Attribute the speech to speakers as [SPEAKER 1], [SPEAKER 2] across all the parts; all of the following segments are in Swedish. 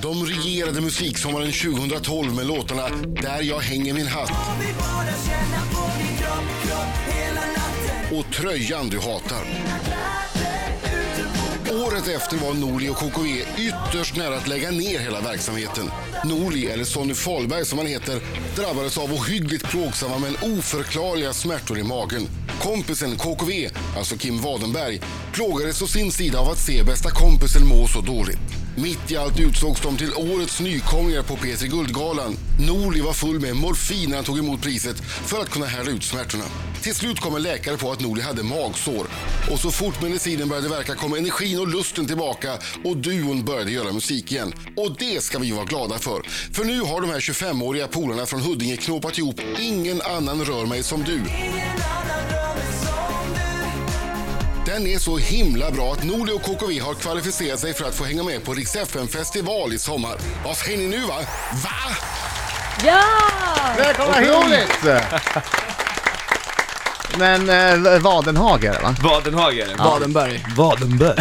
[SPEAKER 1] De regerade musiksommaren 2012 med låtarna Där jag hänger min hatt
[SPEAKER 2] Om vi bara känna på din kropp, kropp hela natten
[SPEAKER 1] och Tröjan du hatar.
[SPEAKER 2] Dina kläder ute på
[SPEAKER 1] Året efter var Norli och KKV ytterst nära att lägga ner hela verksamheten. Norli, eller Sonny Fahlberg som han heter, drabbades av ohyggligt plågsamma men oförklarliga smärtor i magen. Kompisen KKV, alltså Kim Wadenberg, plågades å sin sida av att se bästa kompisen må så dåligt. Mitt i allt utsågs de till årets nykomlingar på P3 Guldgalan. Norli var full med morfin när han tog emot priset för att kunna härda ut smärtorna. Till slut kom en läkare på att Norli hade magsår. Och så fort medicinen började verka kom energin och lusten tillbaka och duon började göra musik igen. Och det ska vi vara glada för. För nu har de här 25-åriga polarna från Huddinge knåpat ihop Ingen annan rör mig som du.
[SPEAKER 2] Ingen annan rör mig som du
[SPEAKER 1] Den är så himla bra att Norli och KKV har kvalificerat sig för att få hänga med på Rix FM festival i sommar. Vad säger ni nu va? Va?
[SPEAKER 3] Ja!
[SPEAKER 4] Välkomna hit! Men eh, Wadenhager va?
[SPEAKER 5] Badenhager.
[SPEAKER 6] Badenberg.
[SPEAKER 5] Badenberg.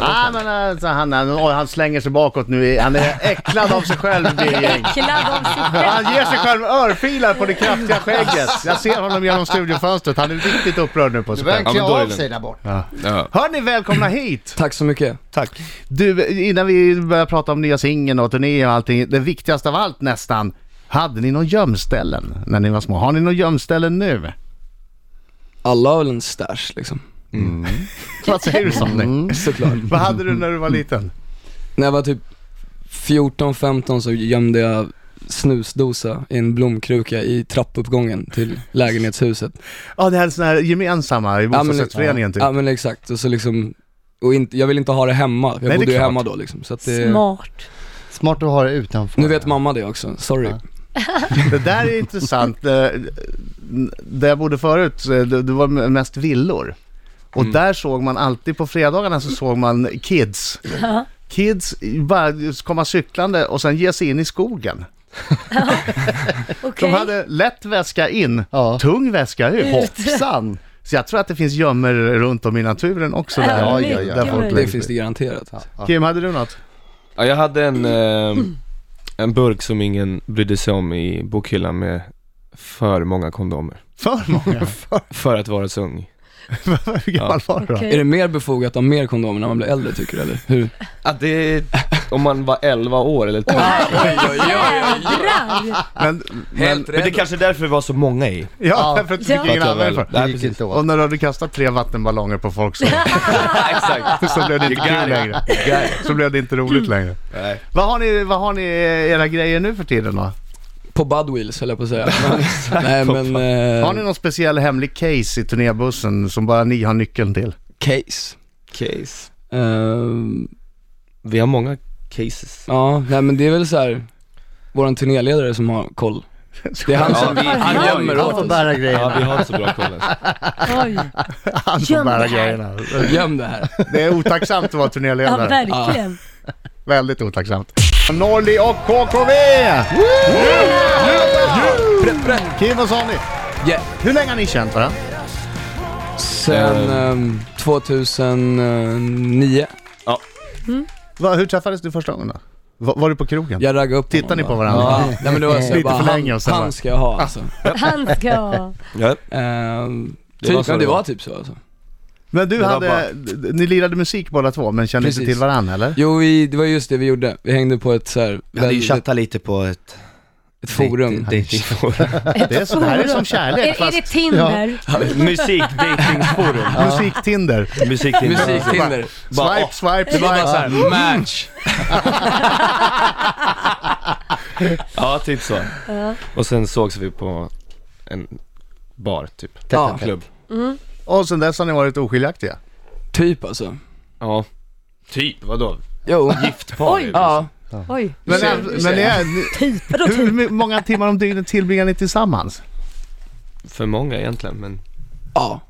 [SPEAKER 4] Nej men eh, så han, han, oj, han slänger sig bakåt nu, i- han är äcklad av sig själv Birging.
[SPEAKER 3] Kladd om sig själv.
[SPEAKER 4] Han ger sig själv örfilar på det kraftiga skägget. Jag ser honom genom studiofönstret, han är riktigt upprörd nu på sig själv.
[SPEAKER 5] Ja, men då är det
[SPEAKER 6] där bort.
[SPEAKER 5] Ja.
[SPEAKER 4] Hörni, välkomna hit!
[SPEAKER 6] Tack så mycket.
[SPEAKER 4] Tack. Du, innan vi börjar prata om nya singeln och turné och allting, det viktigaste av allt nästan. Hade ni någon gömställen när ni var små? Har ni någon gömställen nu?
[SPEAKER 6] Alla har väl en stash liksom.
[SPEAKER 4] Vad säger du Sonny?
[SPEAKER 6] Såklart.
[SPEAKER 4] Vad hade du när du var liten?
[SPEAKER 6] När jag var typ 14-15 så gömde jag snusdosa i en blomkruka i trappuppgången till lägenhetshuset. liksom-
[SPEAKER 4] Ja, det här är sådana här gemensamma i bostadsrättsföreningen typ.
[SPEAKER 6] Ja men exakt, och så liksom, och inte, jag vill inte ha det hemma, jag
[SPEAKER 4] det är
[SPEAKER 6] bodde ju
[SPEAKER 4] klart.
[SPEAKER 6] hemma då liksom. Så att det,
[SPEAKER 3] Smart.
[SPEAKER 7] Smart att ha det utanför.
[SPEAKER 6] nu vet mamma det också, sorry.
[SPEAKER 4] Det där är intressant. Eh, Där jag bodde förut, eh, det det var mest villor. Och
[SPEAKER 6] Mm.
[SPEAKER 4] där såg man alltid, på fredagarna så såg man kids. Kids bara komma cyklande och sen ge sig in i skogen.
[SPEAKER 3] Okej.
[SPEAKER 4] De hade lätt väska in,
[SPEAKER 7] Ja.
[SPEAKER 4] tung väska ut.
[SPEAKER 7] Hoppsan!
[SPEAKER 4] Så jag tror att det finns gömmer runt om i naturen också. Där,
[SPEAKER 3] Ja, mycket
[SPEAKER 4] där folk
[SPEAKER 3] möjligt.
[SPEAKER 6] Det
[SPEAKER 4] lägger
[SPEAKER 6] finns det
[SPEAKER 4] sig.
[SPEAKER 6] garanterat.
[SPEAKER 4] Kim, hade du något?
[SPEAKER 5] ja, jag hade en, eh, en burk som ingen brydde sig om i bokhyllan med för många kondomer.
[SPEAKER 4] För många?
[SPEAKER 5] För att vara så ung.
[SPEAKER 4] Hur gammal var du då?
[SPEAKER 6] Är det mer befogat att ha mer kondomer när man blir äldre tycker du eller? Hur?
[SPEAKER 5] Ja, det, om man var 11 år eller 12.
[SPEAKER 3] Jädrar!
[SPEAKER 4] Men, men,
[SPEAKER 5] Men det är kanske är därför det var så många i.
[SPEAKER 4] ja, för att du
[SPEAKER 3] Ja.
[SPEAKER 4] fick ingen
[SPEAKER 5] Att jag
[SPEAKER 4] användning för
[SPEAKER 5] väl- Nej,
[SPEAKER 7] Det gick
[SPEAKER 5] precis.
[SPEAKER 7] inte åt.
[SPEAKER 4] Och när du hade kastat tre vattenballonger på folk så,
[SPEAKER 5] Exakt.
[SPEAKER 4] så blev det inte kul längre. Så blev det inte
[SPEAKER 3] Mm.
[SPEAKER 4] roligt längre.
[SPEAKER 5] Nej.
[SPEAKER 4] Vad har ni, vad har ni eh, era grejer nu för tiden då?
[SPEAKER 6] På Budwheels höll jag på att säga. Men, nej men, eh,
[SPEAKER 4] Har ni någon speciell hemlig case i turnébussen som bara ni har nyckeln till?
[SPEAKER 6] case?
[SPEAKER 5] Case.
[SPEAKER 6] Ehm,
[SPEAKER 5] Vi har många cases.
[SPEAKER 6] ja, nej men det är väl så här våran turnéledare som har koll. Det är han som,
[SPEAKER 5] Ja, vi-
[SPEAKER 6] han
[SPEAKER 5] vi har-
[SPEAKER 6] gömmer
[SPEAKER 7] Han får
[SPEAKER 6] åt oss.
[SPEAKER 7] bära grejerna.
[SPEAKER 5] Ja, vi har inte så bra koll ens.
[SPEAKER 3] Oj.
[SPEAKER 4] Han som
[SPEAKER 3] Göm det
[SPEAKER 4] bär
[SPEAKER 3] här.
[SPEAKER 4] grejerna.
[SPEAKER 6] Göm det här.
[SPEAKER 4] Det är otacksamt att vara
[SPEAKER 3] Ja,
[SPEAKER 4] turnéledare.
[SPEAKER 3] verkligen.
[SPEAKER 4] Väldigt otacksamt. Norli och KKV! Kim och Sonny,
[SPEAKER 6] Yeah.
[SPEAKER 4] hur länge har ni känt varandra?
[SPEAKER 6] Sen
[SPEAKER 5] Eh.
[SPEAKER 6] ehm, 2009,
[SPEAKER 4] Va, hur träffades du första gången då? Va, var du på krogen?
[SPEAKER 6] jag raggade upp
[SPEAKER 4] Tittade ni på
[SPEAKER 6] honom bara.
[SPEAKER 4] varandra?
[SPEAKER 6] Ja, nej men det var så
[SPEAKER 4] Lite
[SPEAKER 6] jag bara,
[SPEAKER 4] för länge och
[SPEAKER 6] han,
[SPEAKER 4] sen bara-
[SPEAKER 6] han ska jag ha alltså.
[SPEAKER 3] Han ska ha.
[SPEAKER 5] Ja.
[SPEAKER 6] Ehm,
[SPEAKER 5] Det
[SPEAKER 6] typ,
[SPEAKER 5] var så
[SPEAKER 6] ja, det
[SPEAKER 5] det var.
[SPEAKER 6] var typ så alltså.
[SPEAKER 4] Men du
[SPEAKER 5] Det var
[SPEAKER 4] hade,
[SPEAKER 5] bara-
[SPEAKER 4] d- d- ni lirade musik båda två men kände inte
[SPEAKER 6] Precis.
[SPEAKER 4] till varandra eller?
[SPEAKER 6] Jo, vi, det var just det vi gjorde. Vi hängde på ett så här,
[SPEAKER 5] Vi hade ju
[SPEAKER 6] väldigt-
[SPEAKER 5] chattat lite på ett
[SPEAKER 6] ett forum.
[SPEAKER 5] datingforum.
[SPEAKER 4] Det, är så, det här är som kärlek
[SPEAKER 3] Är, är det
[SPEAKER 4] fast
[SPEAKER 3] Tinder?
[SPEAKER 5] Musik, datingforum.
[SPEAKER 4] musiktinder.
[SPEAKER 5] Musik,
[SPEAKER 6] Musiktinder.
[SPEAKER 5] Bara,
[SPEAKER 4] Swipe,
[SPEAKER 5] åh.
[SPEAKER 4] swipe,
[SPEAKER 6] Det var bara
[SPEAKER 4] swipe.
[SPEAKER 6] såhär, match!
[SPEAKER 5] Ja, typ så. Och sen sågs vi på en bar, typ.
[SPEAKER 6] Ja.
[SPEAKER 5] Klubb.
[SPEAKER 4] Och sen dess har ni varit oskiljaktiga.
[SPEAKER 6] Typ alltså.
[SPEAKER 5] Ja. Typ, vadå?
[SPEAKER 6] Jo.
[SPEAKER 5] Giftpar?
[SPEAKER 3] Oj.
[SPEAKER 6] Ja,
[SPEAKER 3] Oj.
[SPEAKER 4] Men,
[SPEAKER 6] ser-
[SPEAKER 4] men,
[SPEAKER 6] du
[SPEAKER 4] ni är,
[SPEAKER 3] Typ. Vadå
[SPEAKER 4] ni, hur
[SPEAKER 3] typ?
[SPEAKER 4] my- många timmar om dygnet tillbringar ni tillsammans?
[SPEAKER 5] För många egentligen, men...
[SPEAKER 6] ja.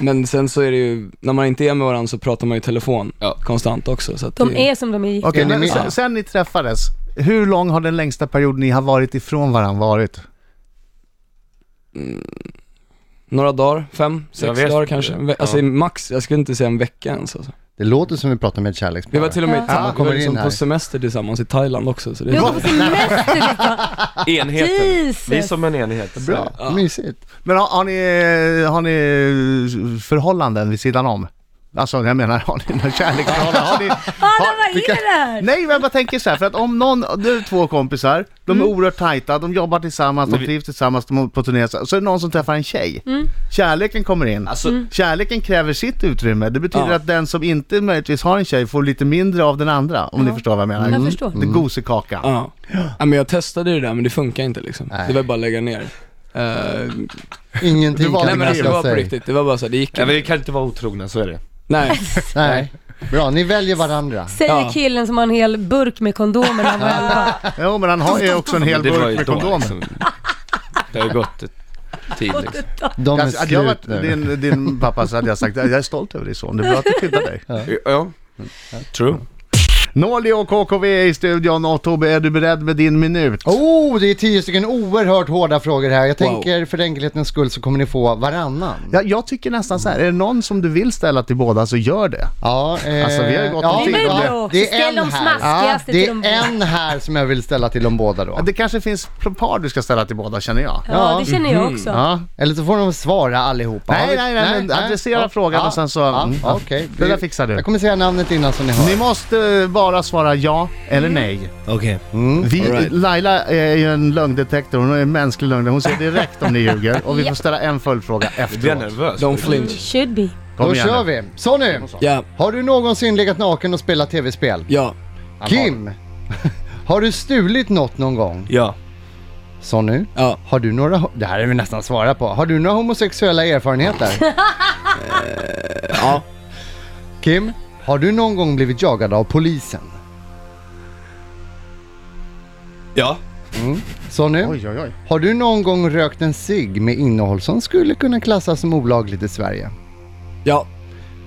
[SPEAKER 6] Men sen så är det ju, när man inte är med varandra så pratar man ju i telefon
[SPEAKER 5] Ja.
[SPEAKER 6] konstant också så att
[SPEAKER 3] De
[SPEAKER 6] det,
[SPEAKER 3] är som de är gifta.
[SPEAKER 4] Okej,
[SPEAKER 7] Ja, ni
[SPEAKER 4] men
[SPEAKER 7] minns-
[SPEAKER 4] sen, sen ni träffades, hur lång har den längsta perioden ni har varit ifrån varandra varit?
[SPEAKER 6] några dagar, fem,
[SPEAKER 5] Jag
[SPEAKER 6] sex
[SPEAKER 5] vet
[SPEAKER 6] dagar
[SPEAKER 5] inte.
[SPEAKER 6] kanske. Ve- Alltså
[SPEAKER 5] Ja.
[SPEAKER 6] max, jag skulle inte säga en vecka ens alltså.
[SPEAKER 7] Det låter som vi pratar med ett
[SPEAKER 6] Vi
[SPEAKER 7] kärlekspar.
[SPEAKER 6] var till och med
[SPEAKER 3] Ja.
[SPEAKER 7] Ja,
[SPEAKER 6] ja.
[SPEAKER 7] går
[SPEAKER 6] kommer
[SPEAKER 7] in
[SPEAKER 6] liksom
[SPEAKER 7] här.
[SPEAKER 6] på semester tillsammans i Thailand också. Så det
[SPEAKER 3] Jag var på semester liksom.
[SPEAKER 5] Enheten. Vi är
[SPEAKER 3] Jesus.
[SPEAKER 5] som en enhet.
[SPEAKER 7] Bra,
[SPEAKER 6] Ja.
[SPEAKER 7] mysigt.
[SPEAKER 4] Men har, har, ni, har ni förhållanden vid sidan om? Alltså jag menar, har ni några kärleksförhållanden? Har ni,
[SPEAKER 3] Alla, vad är det här?
[SPEAKER 4] Nej men jag bara tänker så här, för att om någon, du är två kompisar, de
[SPEAKER 3] Mm.
[SPEAKER 4] är oerhört tajta, de jobbar tillsammans, de
[SPEAKER 5] Men vi-
[SPEAKER 4] trivs tillsammans, de är på turné, så så är det någon som träffar en tjej.
[SPEAKER 3] Mm.
[SPEAKER 4] Kärleken kommer in.
[SPEAKER 5] Alltså,
[SPEAKER 4] Kärleken kräver sitt utrymme, det betyder
[SPEAKER 6] Ja.
[SPEAKER 4] att den som inte möjligtvis har en tjej får lite mindre av den andra, om ni
[SPEAKER 3] Ja.
[SPEAKER 4] förstår vad jag menar.
[SPEAKER 5] Mm.
[SPEAKER 3] Jag förstår.
[SPEAKER 4] Det är gosekaka.
[SPEAKER 6] Ja. ja, men jag testade det där men det funkar inte liksom.
[SPEAKER 7] Nej.
[SPEAKER 6] Det var bara att lägga ner. Eh,
[SPEAKER 7] Ingenting
[SPEAKER 4] Du valde
[SPEAKER 6] nej men alltså det
[SPEAKER 7] jag
[SPEAKER 6] var på
[SPEAKER 7] säga.
[SPEAKER 6] riktigt, det var bara så här, det gick
[SPEAKER 5] ja,
[SPEAKER 6] inte.
[SPEAKER 5] vi kan inte vara otrogna, så är det.
[SPEAKER 6] Nej,
[SPEAKER 7] Nej. Bra, ni väljer varandra.
[SPEAKER 3] Säger
[SPEAKER 6] Ja.
[SPEAKER 3] killen som har en hel burk med kondomer när han var elva.
[SPEAKER 4] Jo men han har ju också en hel
[SPEAKER 5] Det var ju
[SPEAKER 4] burk med
[SPEAKER 5] då,
[SPEAKER 4] kondomer.
[SPEAKER 5] liksom. Det har ju gått ett tid liksom.
[SPEAKER 7] De är
[SPEAKER 4] Alltså, hade jag
[SPEAKER 7] slut
[SPEAKER 4] varit
[SPEAKER 7] nu.
[SPEAKER 4] din, din pappa så hade jag sagt jag är stolt över din son, det är bra att du skyddar dig.
[SPEAKER 5] Ja, true.
[SPEAKER 4] Norli och KKV i studion och Tobbe, är du beredd med din minut?
[SPEAKER 7] Oh, det är tio stycken oerhört hårda frågor här. Jag
[SPEAKER 6] Wow.
[SPEAKER 7] tänker för enkelhetens skull så kommer ni få varannan.
[SPEAKER 4] Ja, jag tycker nästan så här, är det någon som du vill ställa till båda så gör det.
[SPEAKER 7] Ja, eh,
[SPEAKER 4] Alltså, vi har ju gått om tid.
[SPEAKER 7] det-
[SPEAKER 4] Det är väl
[SPEAKER 3] bra också.
[SPEAKER 7] det är
[SPEAKER 3] Ställ
[SPEAKER 7] en
[SPEAKER 3] de
[SPEAKER 7] här.
[SPEAKER 3] smaskigaste till
[SPEAKER 7] det
[SPEAKER 3] de
[SPEAKER 7] är
[SPEAKER 3] båda.
[SPEAKER 7] en här som jag vill ställa till de båda då.
[SPEAKER 4] Ja, Det kanske finns par du ska ställa till båda känner jag.
[SPEAKER 3] Ja,
[SPEAKER 7] Ja.
[SPEAKER 3] det känner jag också.
[SPEAKER 4] Mm-hmm. Ja.
[SPEAKER 7] Eller så får de svara allihopa. Har
[SPEAKER 4] Nej,
[SPEAKER 7] vi-
[SPEAKER 4] nej, nej, men adressera frågan och sen så-
[SPEAKER 7] Ja,
[SPEAKER 4] mm.
[SPEAKER 7] ja, Okej.
[SPEAKER 4] Det där fixar du.
[SPEAKER 7] Jag kommer säga namnet innan så ni hör.
[SPEAKER 4] Ni måste bara svara ja eller
[SPEAKER 3] Mm.
[SPEAKER 4] nej.
[SPEAKER 5] Okej.
[SPEAKER 4] Vi, Mm. Laila är ju en lögndetektor, hon är en mänsklig lögn. Hon ser direkt om ni ljuger och vi får ställa en följdfråga
[SPEAKER 5] Jag blir
[SPEAKER 4] efteråt.
[SPEAKER 5] nervös.
[SPEAKER 6] don't flinch.
[SPEAKER 3] Should be.
[SPEAKER 7] Då
[SPEAKER 4] Kom igen
[SPEAKER 7] kör
[SPEAKER 4] nu.
[SPEAKER 7] vi. Så nu.
[SPEAKER 6] Ja,
[SPEAKER 7] Har du någonsin legat naken och spelat tv-spel?
[SPEAKER 6] ja,
[SPEAKER 7] Kim. Har du stulit något någon gång?
[SPEAKER 5] Ja.
[SPEAKER 7] Så nu.
[SPEAKER 6] ja.
[SPEAKER 7] Har du några... ho- Det här är vi nästan svara på. Har du några homosexuella erfarenheter? Eh,
[SPEAKER 6] ja.
[SPEAKER 7] Kim. Har du någon gång blivit jagad av polisen?
[SPEAKER 5] Ja.
[SPEAKER 7] Mm. Så nu.
[SPEAKER 4] Oj, oj, oj.
[SPEAKER 7] Har du någon gång rökt en cigg med innehåll som skulle kunna klassas som olagligt i Sverige?
[SPEAKER 6] Ja,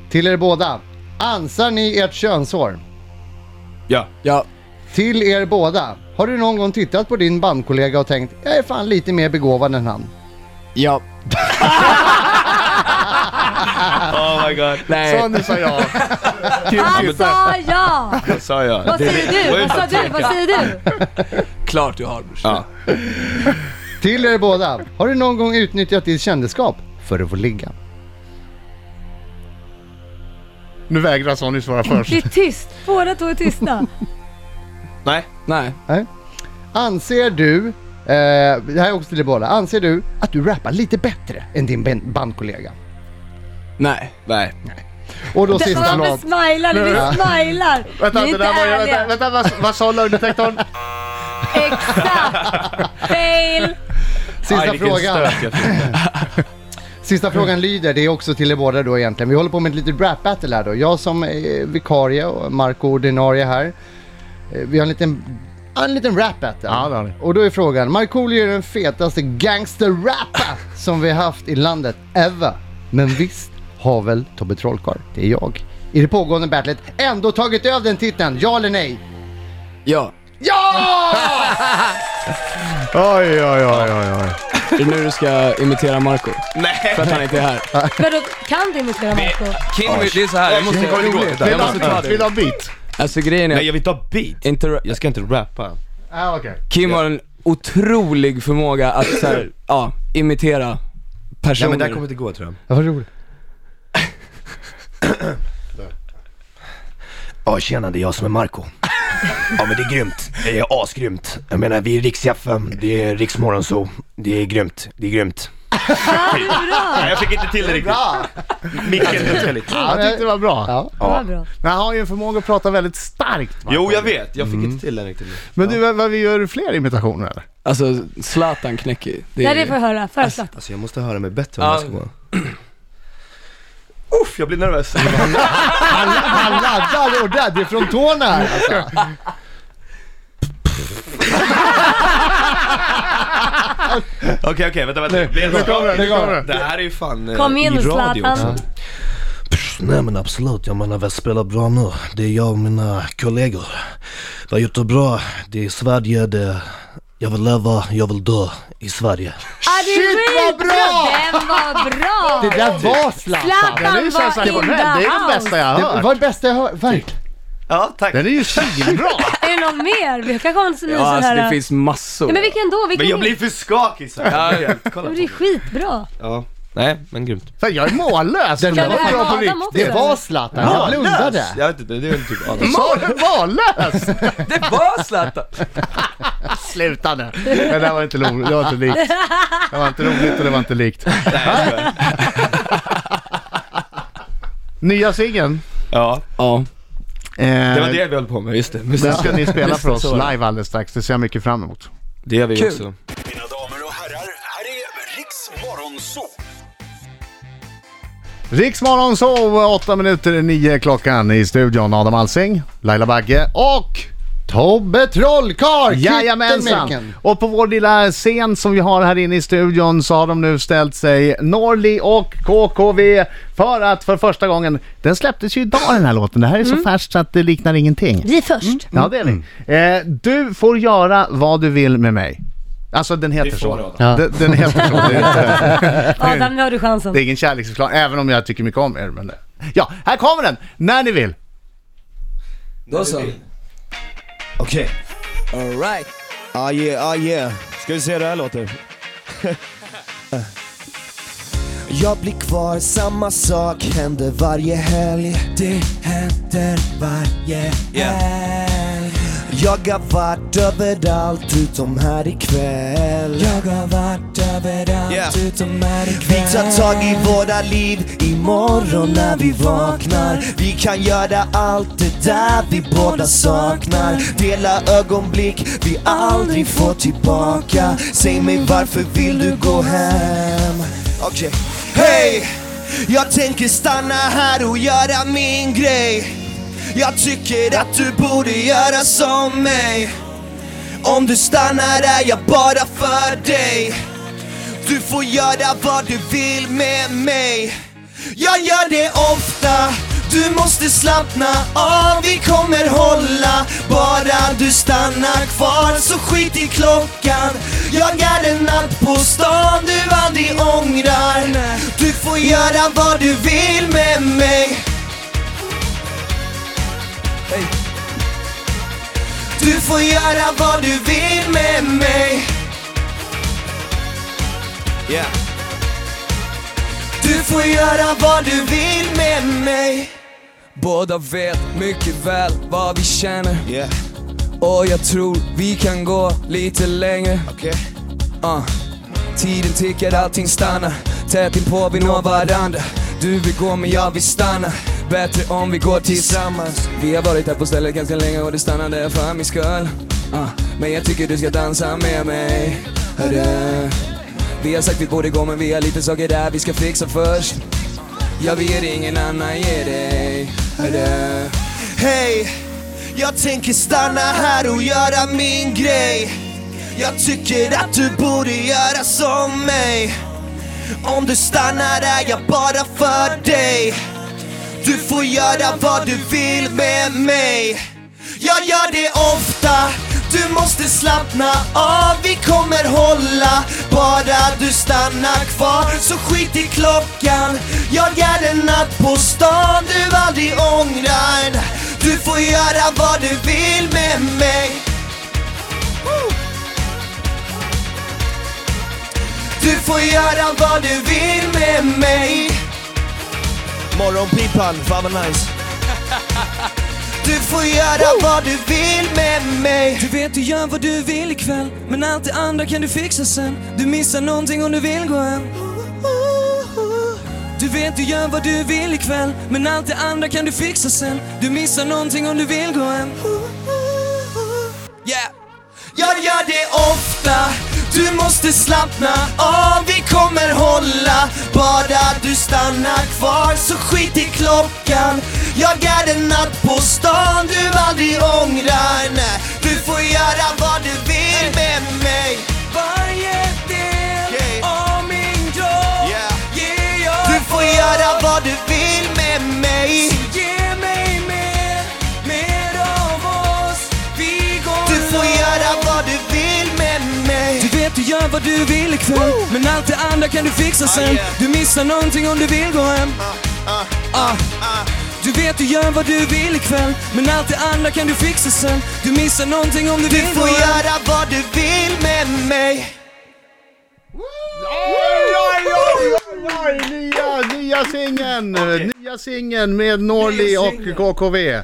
[SPEAKER 7] Till er båda. Ansar ni ert könshår?
[SPEAKER 5] Ja.
[SPEAKER 6] ja,
[SPEAKER 7] Till er båda. Har du någon gång tittat på din bandkollega och tänkt jag är fan lite mer begåvad än han?
[SPEAKER 6] ja.
[SPEAKER 5] Oh my god.
[SPEAKER 6] Nej,
[SPEAKER 4] Så nu sa jag.
[SPEAKER 3] Han sa ja!
[SPEAKER 5] Vad sa jag?
[SPEAKER 3] Vad säger
[SPEAKER 5] Det var
[SPEAKER 3] du?
[SPEAKER 5] ju
[SPEAKER 3] Vad sa du? Vad säger du?
[SPEAKER 6] klart du har brorsan.
[SPEAKER 5] Ja.
[SPEAKER 7] Till er båda. Har du någon gång utnyttjat ditt kändisskap för att få ligga?
[SPEAKER 4] Nu vägrar Sonny svara först.
[SPEAKER 3] Det är tyst. Båda två är tysta.
[SPEAKER 5] Nej.
[SPEAKER 6] Nej,
[SPEAKER 7] Anser du, eh, det här är också till er båda, anser du att du rappar lite bättre än din ben- bandkollega?
[SPEAKER 6] nej.
[SPEAKER 5] Nej.
[SPEAKER 7] Och då
[SPEAKER 3] Det-
[SPEAKER 7] sista
[SPEAKER 3] Varför
[SPEAKER 7] låt.
[SPEAKER 3] smilar ni? Ni smilar.
[SPEAKER 4] Vänta,
[SPEAKER 3] ni är
[SPEAKER 4] det
[SPEAKER 3] inte
[SPEAKER 4] där var ju... Vänta,
[SPEAKER 3] ärliga.
[SPEAKER 4] vänta vad, vad sa lögndetektorn?
[SPEAKER 3] Exakt. Fail.
[SPEAKER 7] Sista
[SPEAKER 5] Aj, vilken
[SPEAKER 7] frågan.
[SPEAKER 5] stök jag fick.
[SPEAKER 7] Sista frågan lyder, det är också till er båda då egentligen. Vi håller på med ett litet rap-battle här då. Jag som är vikarie och Marco ordinarie här. Eh, Vi har en liten, en liten rap-battle.
[SPEAKER 4] Ja, det har ni.
[SPEAKER 7] Och då är frågan, Markoolio är den fetaste gangster-rappen som vi haft i landet ever. Men visst har väl Tobbe Trollkarl, det är jag, i det pågående battlet ändå tagit över den titeln, ja eller nej?
[SPEAKER 6] Ja.
[SPEAKER 4] Oj, oj, oj, oj, oj.
[SPEAKER 6] Är det nu du ska imitera Marco
[SPEAKER 5] Nej.
[SPEAKER 6] För att han inte är här.
[SPEAKER 3] Vadå, kan du imitera Marco?
[SPEAKER 5] Kim, det är så här. Jag måste gå och
[SPEAKER 4] Vill
[SPEAKER 5] Jag måste
[SPEAKER 4] du ha
[SPEAKER 5] ta
[SPEAKER 4] beat? Vill du
[SPEAKER 5] det.
[SPEAKER 4] ha beat?
[SPEAKER 6] Alltså grejen
[SPEAKER 5] Nej,
[SPEAKER 6] är,
[SPEAKER 5] jag vill inte ha beat.
[SPEAKER 6] inte ra-
[SPEAKER 5] Jag ska inte rappa.
[SPEAKER 4] Ah, okej.
[SPEAKER 6] Kim har en otrolig förmåga att så här, ja, imitera personer.
[SPEAKER 5] inte gå tror jag.
[SPEAKER 7] Ja, Vad roligt.
[SPEAKER 8] Ja tjena, det är jag som är Marco Ja men det är grymt, det är asgrymt. Jag menar vi är riks FM, det är riks Morgonzoo. Det är grymt, det är grymt.
[SPEAKER 5] Nej, jag fick inte till det riktigt. Micken
[SPEAKER 8] Alltså,
[SPEAKER 5] höll väldigt.
[SPEAKER 4] Ja, jag tyckte det var bra.
[SPEAKER 7] Ja.
[SPEAKER 3] Det var bra.
[SPEAKER 4] Men han har ju en förmåga att prata väldigt starkt. Marco.
[SPEAKER 5] Jo, jag vet. Jag fick
[SPEAKER 4] Mm.
[SPEAKER 5] inte till den riktigt.
[SPEAKER 4] Men du, vad- vad vi gör fler imitationer eller?
[SPEAKER 6] Alltså Zlatan knäcker. Det
[SPEAKER 3] Nej, det får jag höra. Föreslå.
[SPEAKER 5] Alltså jag måste höra mig bättre
[SPEAKER 6] om jag ska gå.
[SPEAKER 5] Uff, jag blir nervös.
[SPEAKER 7] Han laddar ordentligt från tårna här alltså.
[SPEAKER 5] Okej, okej, vänta, vänta. Blir det bra?
[SPEAKER 4] kommer den, nu kommer den.
[SPEAKER 5] Det här är ju fan eh,
[SPEAKER 3] Kom igen
[SPEAKER 5] i
[SPEAKER 3] nu
[SPEAKER 5] radio
[SPEAKER 3] Zlatan.
[SPEAKER 5] också.
[SPEAKER 8] Pff, nej men absolut, jag menar vi spelar bra nu. Det är jag och mina kollegor. Vi har gjort det bra. Det är Sverige, det... Jag vill leva, jag vill dö i Sverige.
[SPEAKER 3] Ah, det är
[SPEAKER 7] Shit, vad
[SPEAKER 3] skitbra!
[SPEAKER 7] bra!
[SPEAKER 3] Den var bra!
[SPEAKER 7] Det där var Zlatan!
[SPEAKER 4] Den
[SPEAKER 3] Zlatan
[SPEAKER 4] är ju så här,
[SPEAKER 3] var in
[SPEAKER 4] det
[SPEAKER 3] the
[SPEAKER 4] är den
[SPEAKER 3] house!
[SPEAKER 4] bästa jag
[SPEAKER 7] Det
[SPEAKER 4] har hört.
[SPEAKER 7] var det bästa jag hört, verkligen.
[SPEAKER 8] Ja, tack.
[SPEAKER 4] Den är ju svinbra!
[SPEAKER 3] Är det någon mer? Vi kanske har en sån
[SPEAKER 6] Ja,
[SPEAKER 3] här...
[SPEAKER 6] alltså det finns massor.
[SPEAKER 3] Nej men vilken då? Vilken
[SPEAKER 8] Men jag blir för skakig så här.
[SPEAKER 3] Ja, men Det är skitbra.
[SPEAKER 5] Ja. Nej, men grymt.
[SPEAKER 4] Fan, jag är mållös!
[SPEAKER 7] Den
[SPEAKER 4] Den
[SPEAKER 7] där
[SPEAKER 4] var
[SPEAKER 3] här
[SPEAKER 4] bra på
[SPEAKER 3] Adam
[SPEAKER 4] riktigt.
[SPEAKER 3] också,
[SPEAKER 7] Det
[SPEAKER 3] eller?
[SPEAKER 7] var Zlatan, jag blundade.
[SPEAKER 5] Jag vet inte, det är väl typ Adam.
[SPEAKER 4] Sa du mållös?
[SPEAKER 6] Det var Zlatan!
[SPEAKER 4] Sluta nu. Det där var inte roligt, det var inte likt. Det var inte roligt och det var inte likt. Nya singeln,
[SPEAKER 5] Ja,
[SPEAKER 6] Ja,
[SPEAKER 5] det var
[SPEAKER 4] eh,
[SPEAKER 5] det vi höll på med, just det. Just
[SPEAKER 4] den
[SPEAKER 5] det.
[SPEAKER 4] ska ni spela för oss
[SPEAKER 5] Så var det.
[SPEAKER 4] live alldeles strax, det ser jag mycket fram emot.
[SPEAKER 5] Det gör vi
[SPEAKER 6] Kul.
[SPEAKER 5] också.
[SPEAKER 9] Mina damer och herrar, här är Riks Morgonzoo!
[SPEAKER 4] Riksmorgon så 8 minuter i 9 klockan i studion. Adam Alsing, Laila Bagge och
[SPEAKER 7] Tobbe Trollkarl!
[SPEAKER 4] Jajamensan! Och på vår lilla scen som vi har här inne i studion så har de nu ställt sig Norli och KKV för att för första gången, den släpptes ju idag den här låten, det här är så färskt så att det liknar ingenting.
[SPEAKER 3] Vi är först.
[SPEAKER 4] Ja det är ni. Eh, du får göra vad du vill med mig. Alltså den heter så.
[SPEAKER 7] Ja.
[SPEAKER 4] Den, den heter så. Det är,
[SPEAKER 3] Adam, nu har du chansen.
[SPEAKER 4] Mm. det är ingen kärleksförklaring, även om jag tycker mycket om er. Men det. Ja, här kommer den! När ni vill.
[SPEAKER 6] då så.
[SPEAKER 8] Okej.
[SPEAKER 10] Alright. Ah yeah, ah yeah.
[SPEAKER 8] Ska vi se hur det här låter?
[SPEAKER 10] Jag blir kvar, samma sak händer varje helg. Det händer varje helg. Jag har varit överallt utom här ikväll. Jag har varit överallt utom här ikväll. Vi tar tag i våra liv imorgon när vi vaknar. Vi kan göra allt det där vi båda saknar. Dela ögonblick vi aldrig får tillbaka. Säg mig varför vill du gå hem? Okej. Hej! Jag tänker stanna här och göra min grej. Jag tycker att du borde göra som mig. Om du stannar är jag bara för dig. Du får göra vad du vill med mig. Jag gör det ofta. Du måste slappna av, vi kommer hålla Bara du stannar kvar så skit i klockan Jag är en natt på stan du aldrig ångrar Du får göra vad du vill med mig Du får göra vad du vill med mig Du får göra vad du vill med mig
[SPEAKER 11] Båda vet mycket väl vad vi känner
[SPEAKER 10] yeah.
[SPEAKER 11] Och jag tror vi kan gå lite längre Ah. Tiden tickar, allting stannar Tätt inpå, vi når varandra Du vill gå men jag vill stanna Bättre om vi går tillsammans Vi har varit här på stället ganska länge och det stannade för min skull ah. Men jag tycker du ska dansa med mig Hörru Vi har sagt vi borde gå men vi har lite saker där vi ska fixa först Jag vet ingen annan ger dig Hörru
[SPEAKER 10] Hej, jag tänker stanna här och göra min grej Jag tycker att du borde göra som mig Om du stannar är jag bara för dig Du får göra vad du vill med mig Jag gör det ofta Du måste slappna av, vi kommer hålla Bara du stannar kvar, så skit i klockan Jag är en natt på stan du aldrig ångrar Du får göra vad du vill med mig Woo! Du får göra vad du vill med mig Morgonpipan, fan vad nice Du får göra vad du vill med mig
[SPEAKER 11] Du vet du gör vad du vill ikväll Men allt det andra kan du fixa sen Du missar någonting om du vill gå hem Du vet du gör vad du vill ikväll Men allt det andra kan du fixa sen Du missar någonting om du vill gå hem Yeah!
[SPEAKER 10] Jag gör det ofta Du måste slappna av, vi kommer hålla Bara du stannar kvar så skit i klockan Jag är en natt på stan du aldrig ångrar Nej, du får göra vad du vill med mig
[SPEAKER 11] Varje del
[SPEAKER 10] Yeah.
[SPEAKER 11] av min kropp
[SPEAKER 10] Yeah.
[SPEAKER 11] ger jag
[SPEAKER 10] Du får göra vad du vill med mig
[SPEAKER 11] Ge mig mer, mer av oss Vi går
[SPEAKER 10] Du får
[SPEAKER 11] långt.
[SPEAKER 10] göra vad du vill med
[SPEAKER 11] Så gör vad du vill ikväll Men allt det andra kan du fixa sen Du missar någonting om du vill gå hem Ah. Du vet du gör vad du vill ikväll Men allt det andra kan du fixa sen Du missar någonting om du vill
[SPEAKER 10] Du får göra vad du vill med mig
[SPEAKER 4] Oj, nya, nya singeln! Nya singeln med Norli och KKV. Nya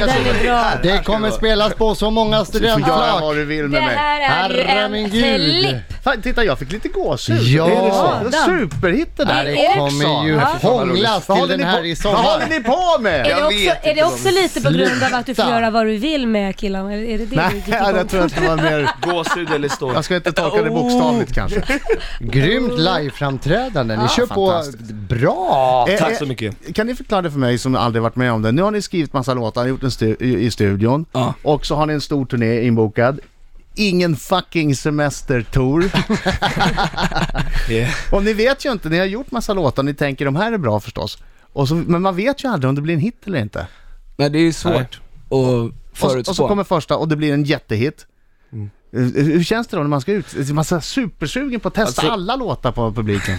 [SPEAKER 3] Ja, den är
[SPEAKER 4] singeln.
[SPEAKER 3] bra.
[SPEAKER 7] Det kommer spelas på så många
[SPEAKER 4] Du får göra vad
[SPEAKER 7] studentlag.
[SPEAKER 4] du vill med
[SPEAKER 3] Det
[SPEAKER 4] mig.
[SPEAKER 3] här är ju
[SPEAKER 7] Herre
[SPEAKER 3] en
[SPEAKER 7] min gud.
[SPEAKER 3] flipp.
[SPEAKER 4] Fan, titta jag fick lite gåshud.
[SPEAKER 7] Ja.
[SPEAKER 4] Är det så?
[SPEAKER 3] Dan.
[SPEAKER 4] Superhit det där.
[SPEAKER 3] Det
[SPEAKER 7] Det
[SPEAKER 3] är
[SPEAKER 7] kommer ju
[SPEAKER 4] Ja.
[SPEAKER 7] hånglas
[SPEAKER 4] Vad
[SPEAKER 7] till
[SPEAKER 4] håller
[SPEAKER 7] den
[SPEAKER 4] ni
[SPEAKER 7] här
[SPEAKER 4] på-
[SPEAKER 7] i
[SPEAKER 4] Vad
[SPEAKER 7] sommar.
[SPEAKER 4] håller ni på
[SPEAKER 3] Är
[SPEAKER 4] med?
[SPEAKER 3] det, också, är det också lite på grund av att du får
[SPEAKER 7] Sluta.
[SPEAKER 3] göra vad du vill med killarna? Eller är det det du
[SPEAKER 4] Nej,
[SPEAKER 3] gick igång
[SPEAKER 4] jag tror
[SPEAKER 3] på?
[SPEAKER 4] att det var mer...
[SPEAKER 5] Gåshud eller stål?
[SPEAKER 4] Jag ska inte tolka det bokstavligt kanske.
[SPEAKER 7] Grymt liveframträdande. Ni
[SPEAKER 4] Ja,
[SPEAKER 7] kör på
[SPEAKER 4] fantastiskt.
[SPEAKER 7] bra.
[SPEAKER 4] Eh,
[SPEAKER 5] Tack
[SPEAKER 4] eh,
[SPEAKER 5] så mycket.
[SPEAKER 4] Kan ni förklara det för mig som aldrig varit med om det? Nu har ni skrivit massa låtar, gjort en stu- i i studion.
[SPEAKER 6] Ja.
[SPEAKER 4] Och så har ni en stor turné inbokad. Ingen fucking semestertour.
[SPEAKER 5] Yeah.
[SPEAKER 4] och ni vet ju inte, ni har gjort massa låtar, ni tänker de här är bra förstås. Och så, men man vet ju aldrig om det blir en hit eller inte.
[SPEAKER 6] Nej, det är ju svårt att
[SPEAKER 4] Och, så-
[SPEAKER 6] förutspå.
[SPEAKER 4] och så kommer första och det blir en jättehit. Eh, Hur känns det då när man ska ut? Är Man är supersugen på att testa
[SPEAKER 5] Alltså-
[SPEAKER 4] alla låtar på publiken.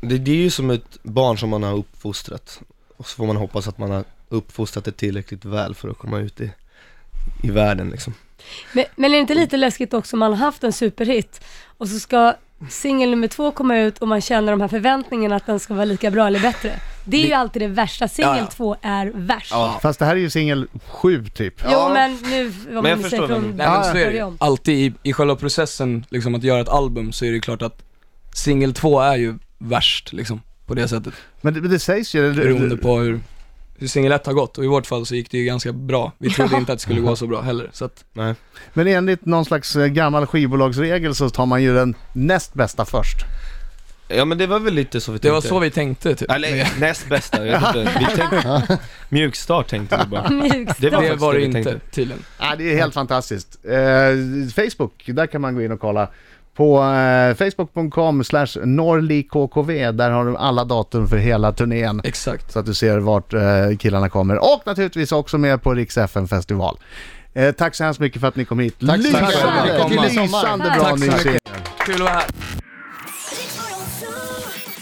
[SPEAKER 5] Det, det är ju som ett barn som man har uppfostrat och så får man hoppas att man har uppfostrat det tillräckligt väl för att komma ut i, i världen liksom.
[SPEAKER 3] Men, men är det inte lite läskigt också om man har haft en superhit och så ska singel nummer två komma ut och man känner de här förväntningarna att den ska vara lika bra eller bättre. Det är ju alltid det värsta. Singel
[SPEAKER 6] Ja, ja.
[SPEAKER 3] två är värst.
[SPEAKER 4] Fast det här är ju singel sju typ.
[SPEAKER 3] Jo men nu, vad man
[SPEAKER 5] jag
[SPEAKER 3] nu
[SPEAKER 5] förstår
[SPEAKER 3] säger
[SPEAKER 5] vad du
[SPEAKER 3] från
[SPEAKER 6] Nej men så är det ju.
[SPEAKER 3] början.
[SPEAKER 6] Alltid i, i själva processen, liksom att göra ett album, så är det klart att singel två är ju värst liksom, på det sättet.
[SPEAKER 4] Men det, men det sägs ju...
[SPEAKER 6] Beroende på hur, hur singel ett har gått, och i vårt fall så gick det ju ganska bra. Vi trodde inte att det skulle gå så bra heller, så att,
[SPEAKER 5] Nej.
[SPEAKER 4] Men enligt någon slags eh, gammal skivbolagsregel så tar man ju den näst bästa först.
[SPEAKER 5] Ja men det var väl lite så vi tänkte.
[SPEAKER 6] det var så vi tänkte typ. Men
[SPEAKER 5] Eller näst bästa, jag vet inte. Vi tänkte, mjukstart tänkte vi bara. Det
[SPEAKER 3] Mjukstart.
[SPEAKER 5] var-
[SPEAKER 6] det var det
[SPEAKER 5] vi
[SPEAKER 6] inte
[SPEAKER 5] tänkte.
[SPEAKER 6] tydligen.
[SPEAKER 4] Ja, det är helt fantastiskt. Eh, Facebook, där kan man gå in och kolla. På eh, facebook.com slash norrlikkv, där har du alla datum för hela turnén.
[SPEAKER 6] Exakt.
[SPEAKER 4] Så att du ser vart eh, killarna kommer. Och naturligtvis också med på Rix FM festival. Eh, tack så hemskt mycket för att ni kom hit.
[SPEAKER 7] Tack så
[SPEAKER 4] lysande,
[SPEAKER 7] mycket
[SPEAKER 6] för att ni kom.
[SPEAKER 4] lysande
[SPEAKER 3] Tack
[SPEAKER 4] bra
[SPEAKER 3] så
[SPEAKER 4] ny
[SPEAKER 3] mycket.
[SPEAKER 4] singel.
[SPEAKER 6] Kul att vara här.
[SPEAKER 2] Riksmorgon, zoo.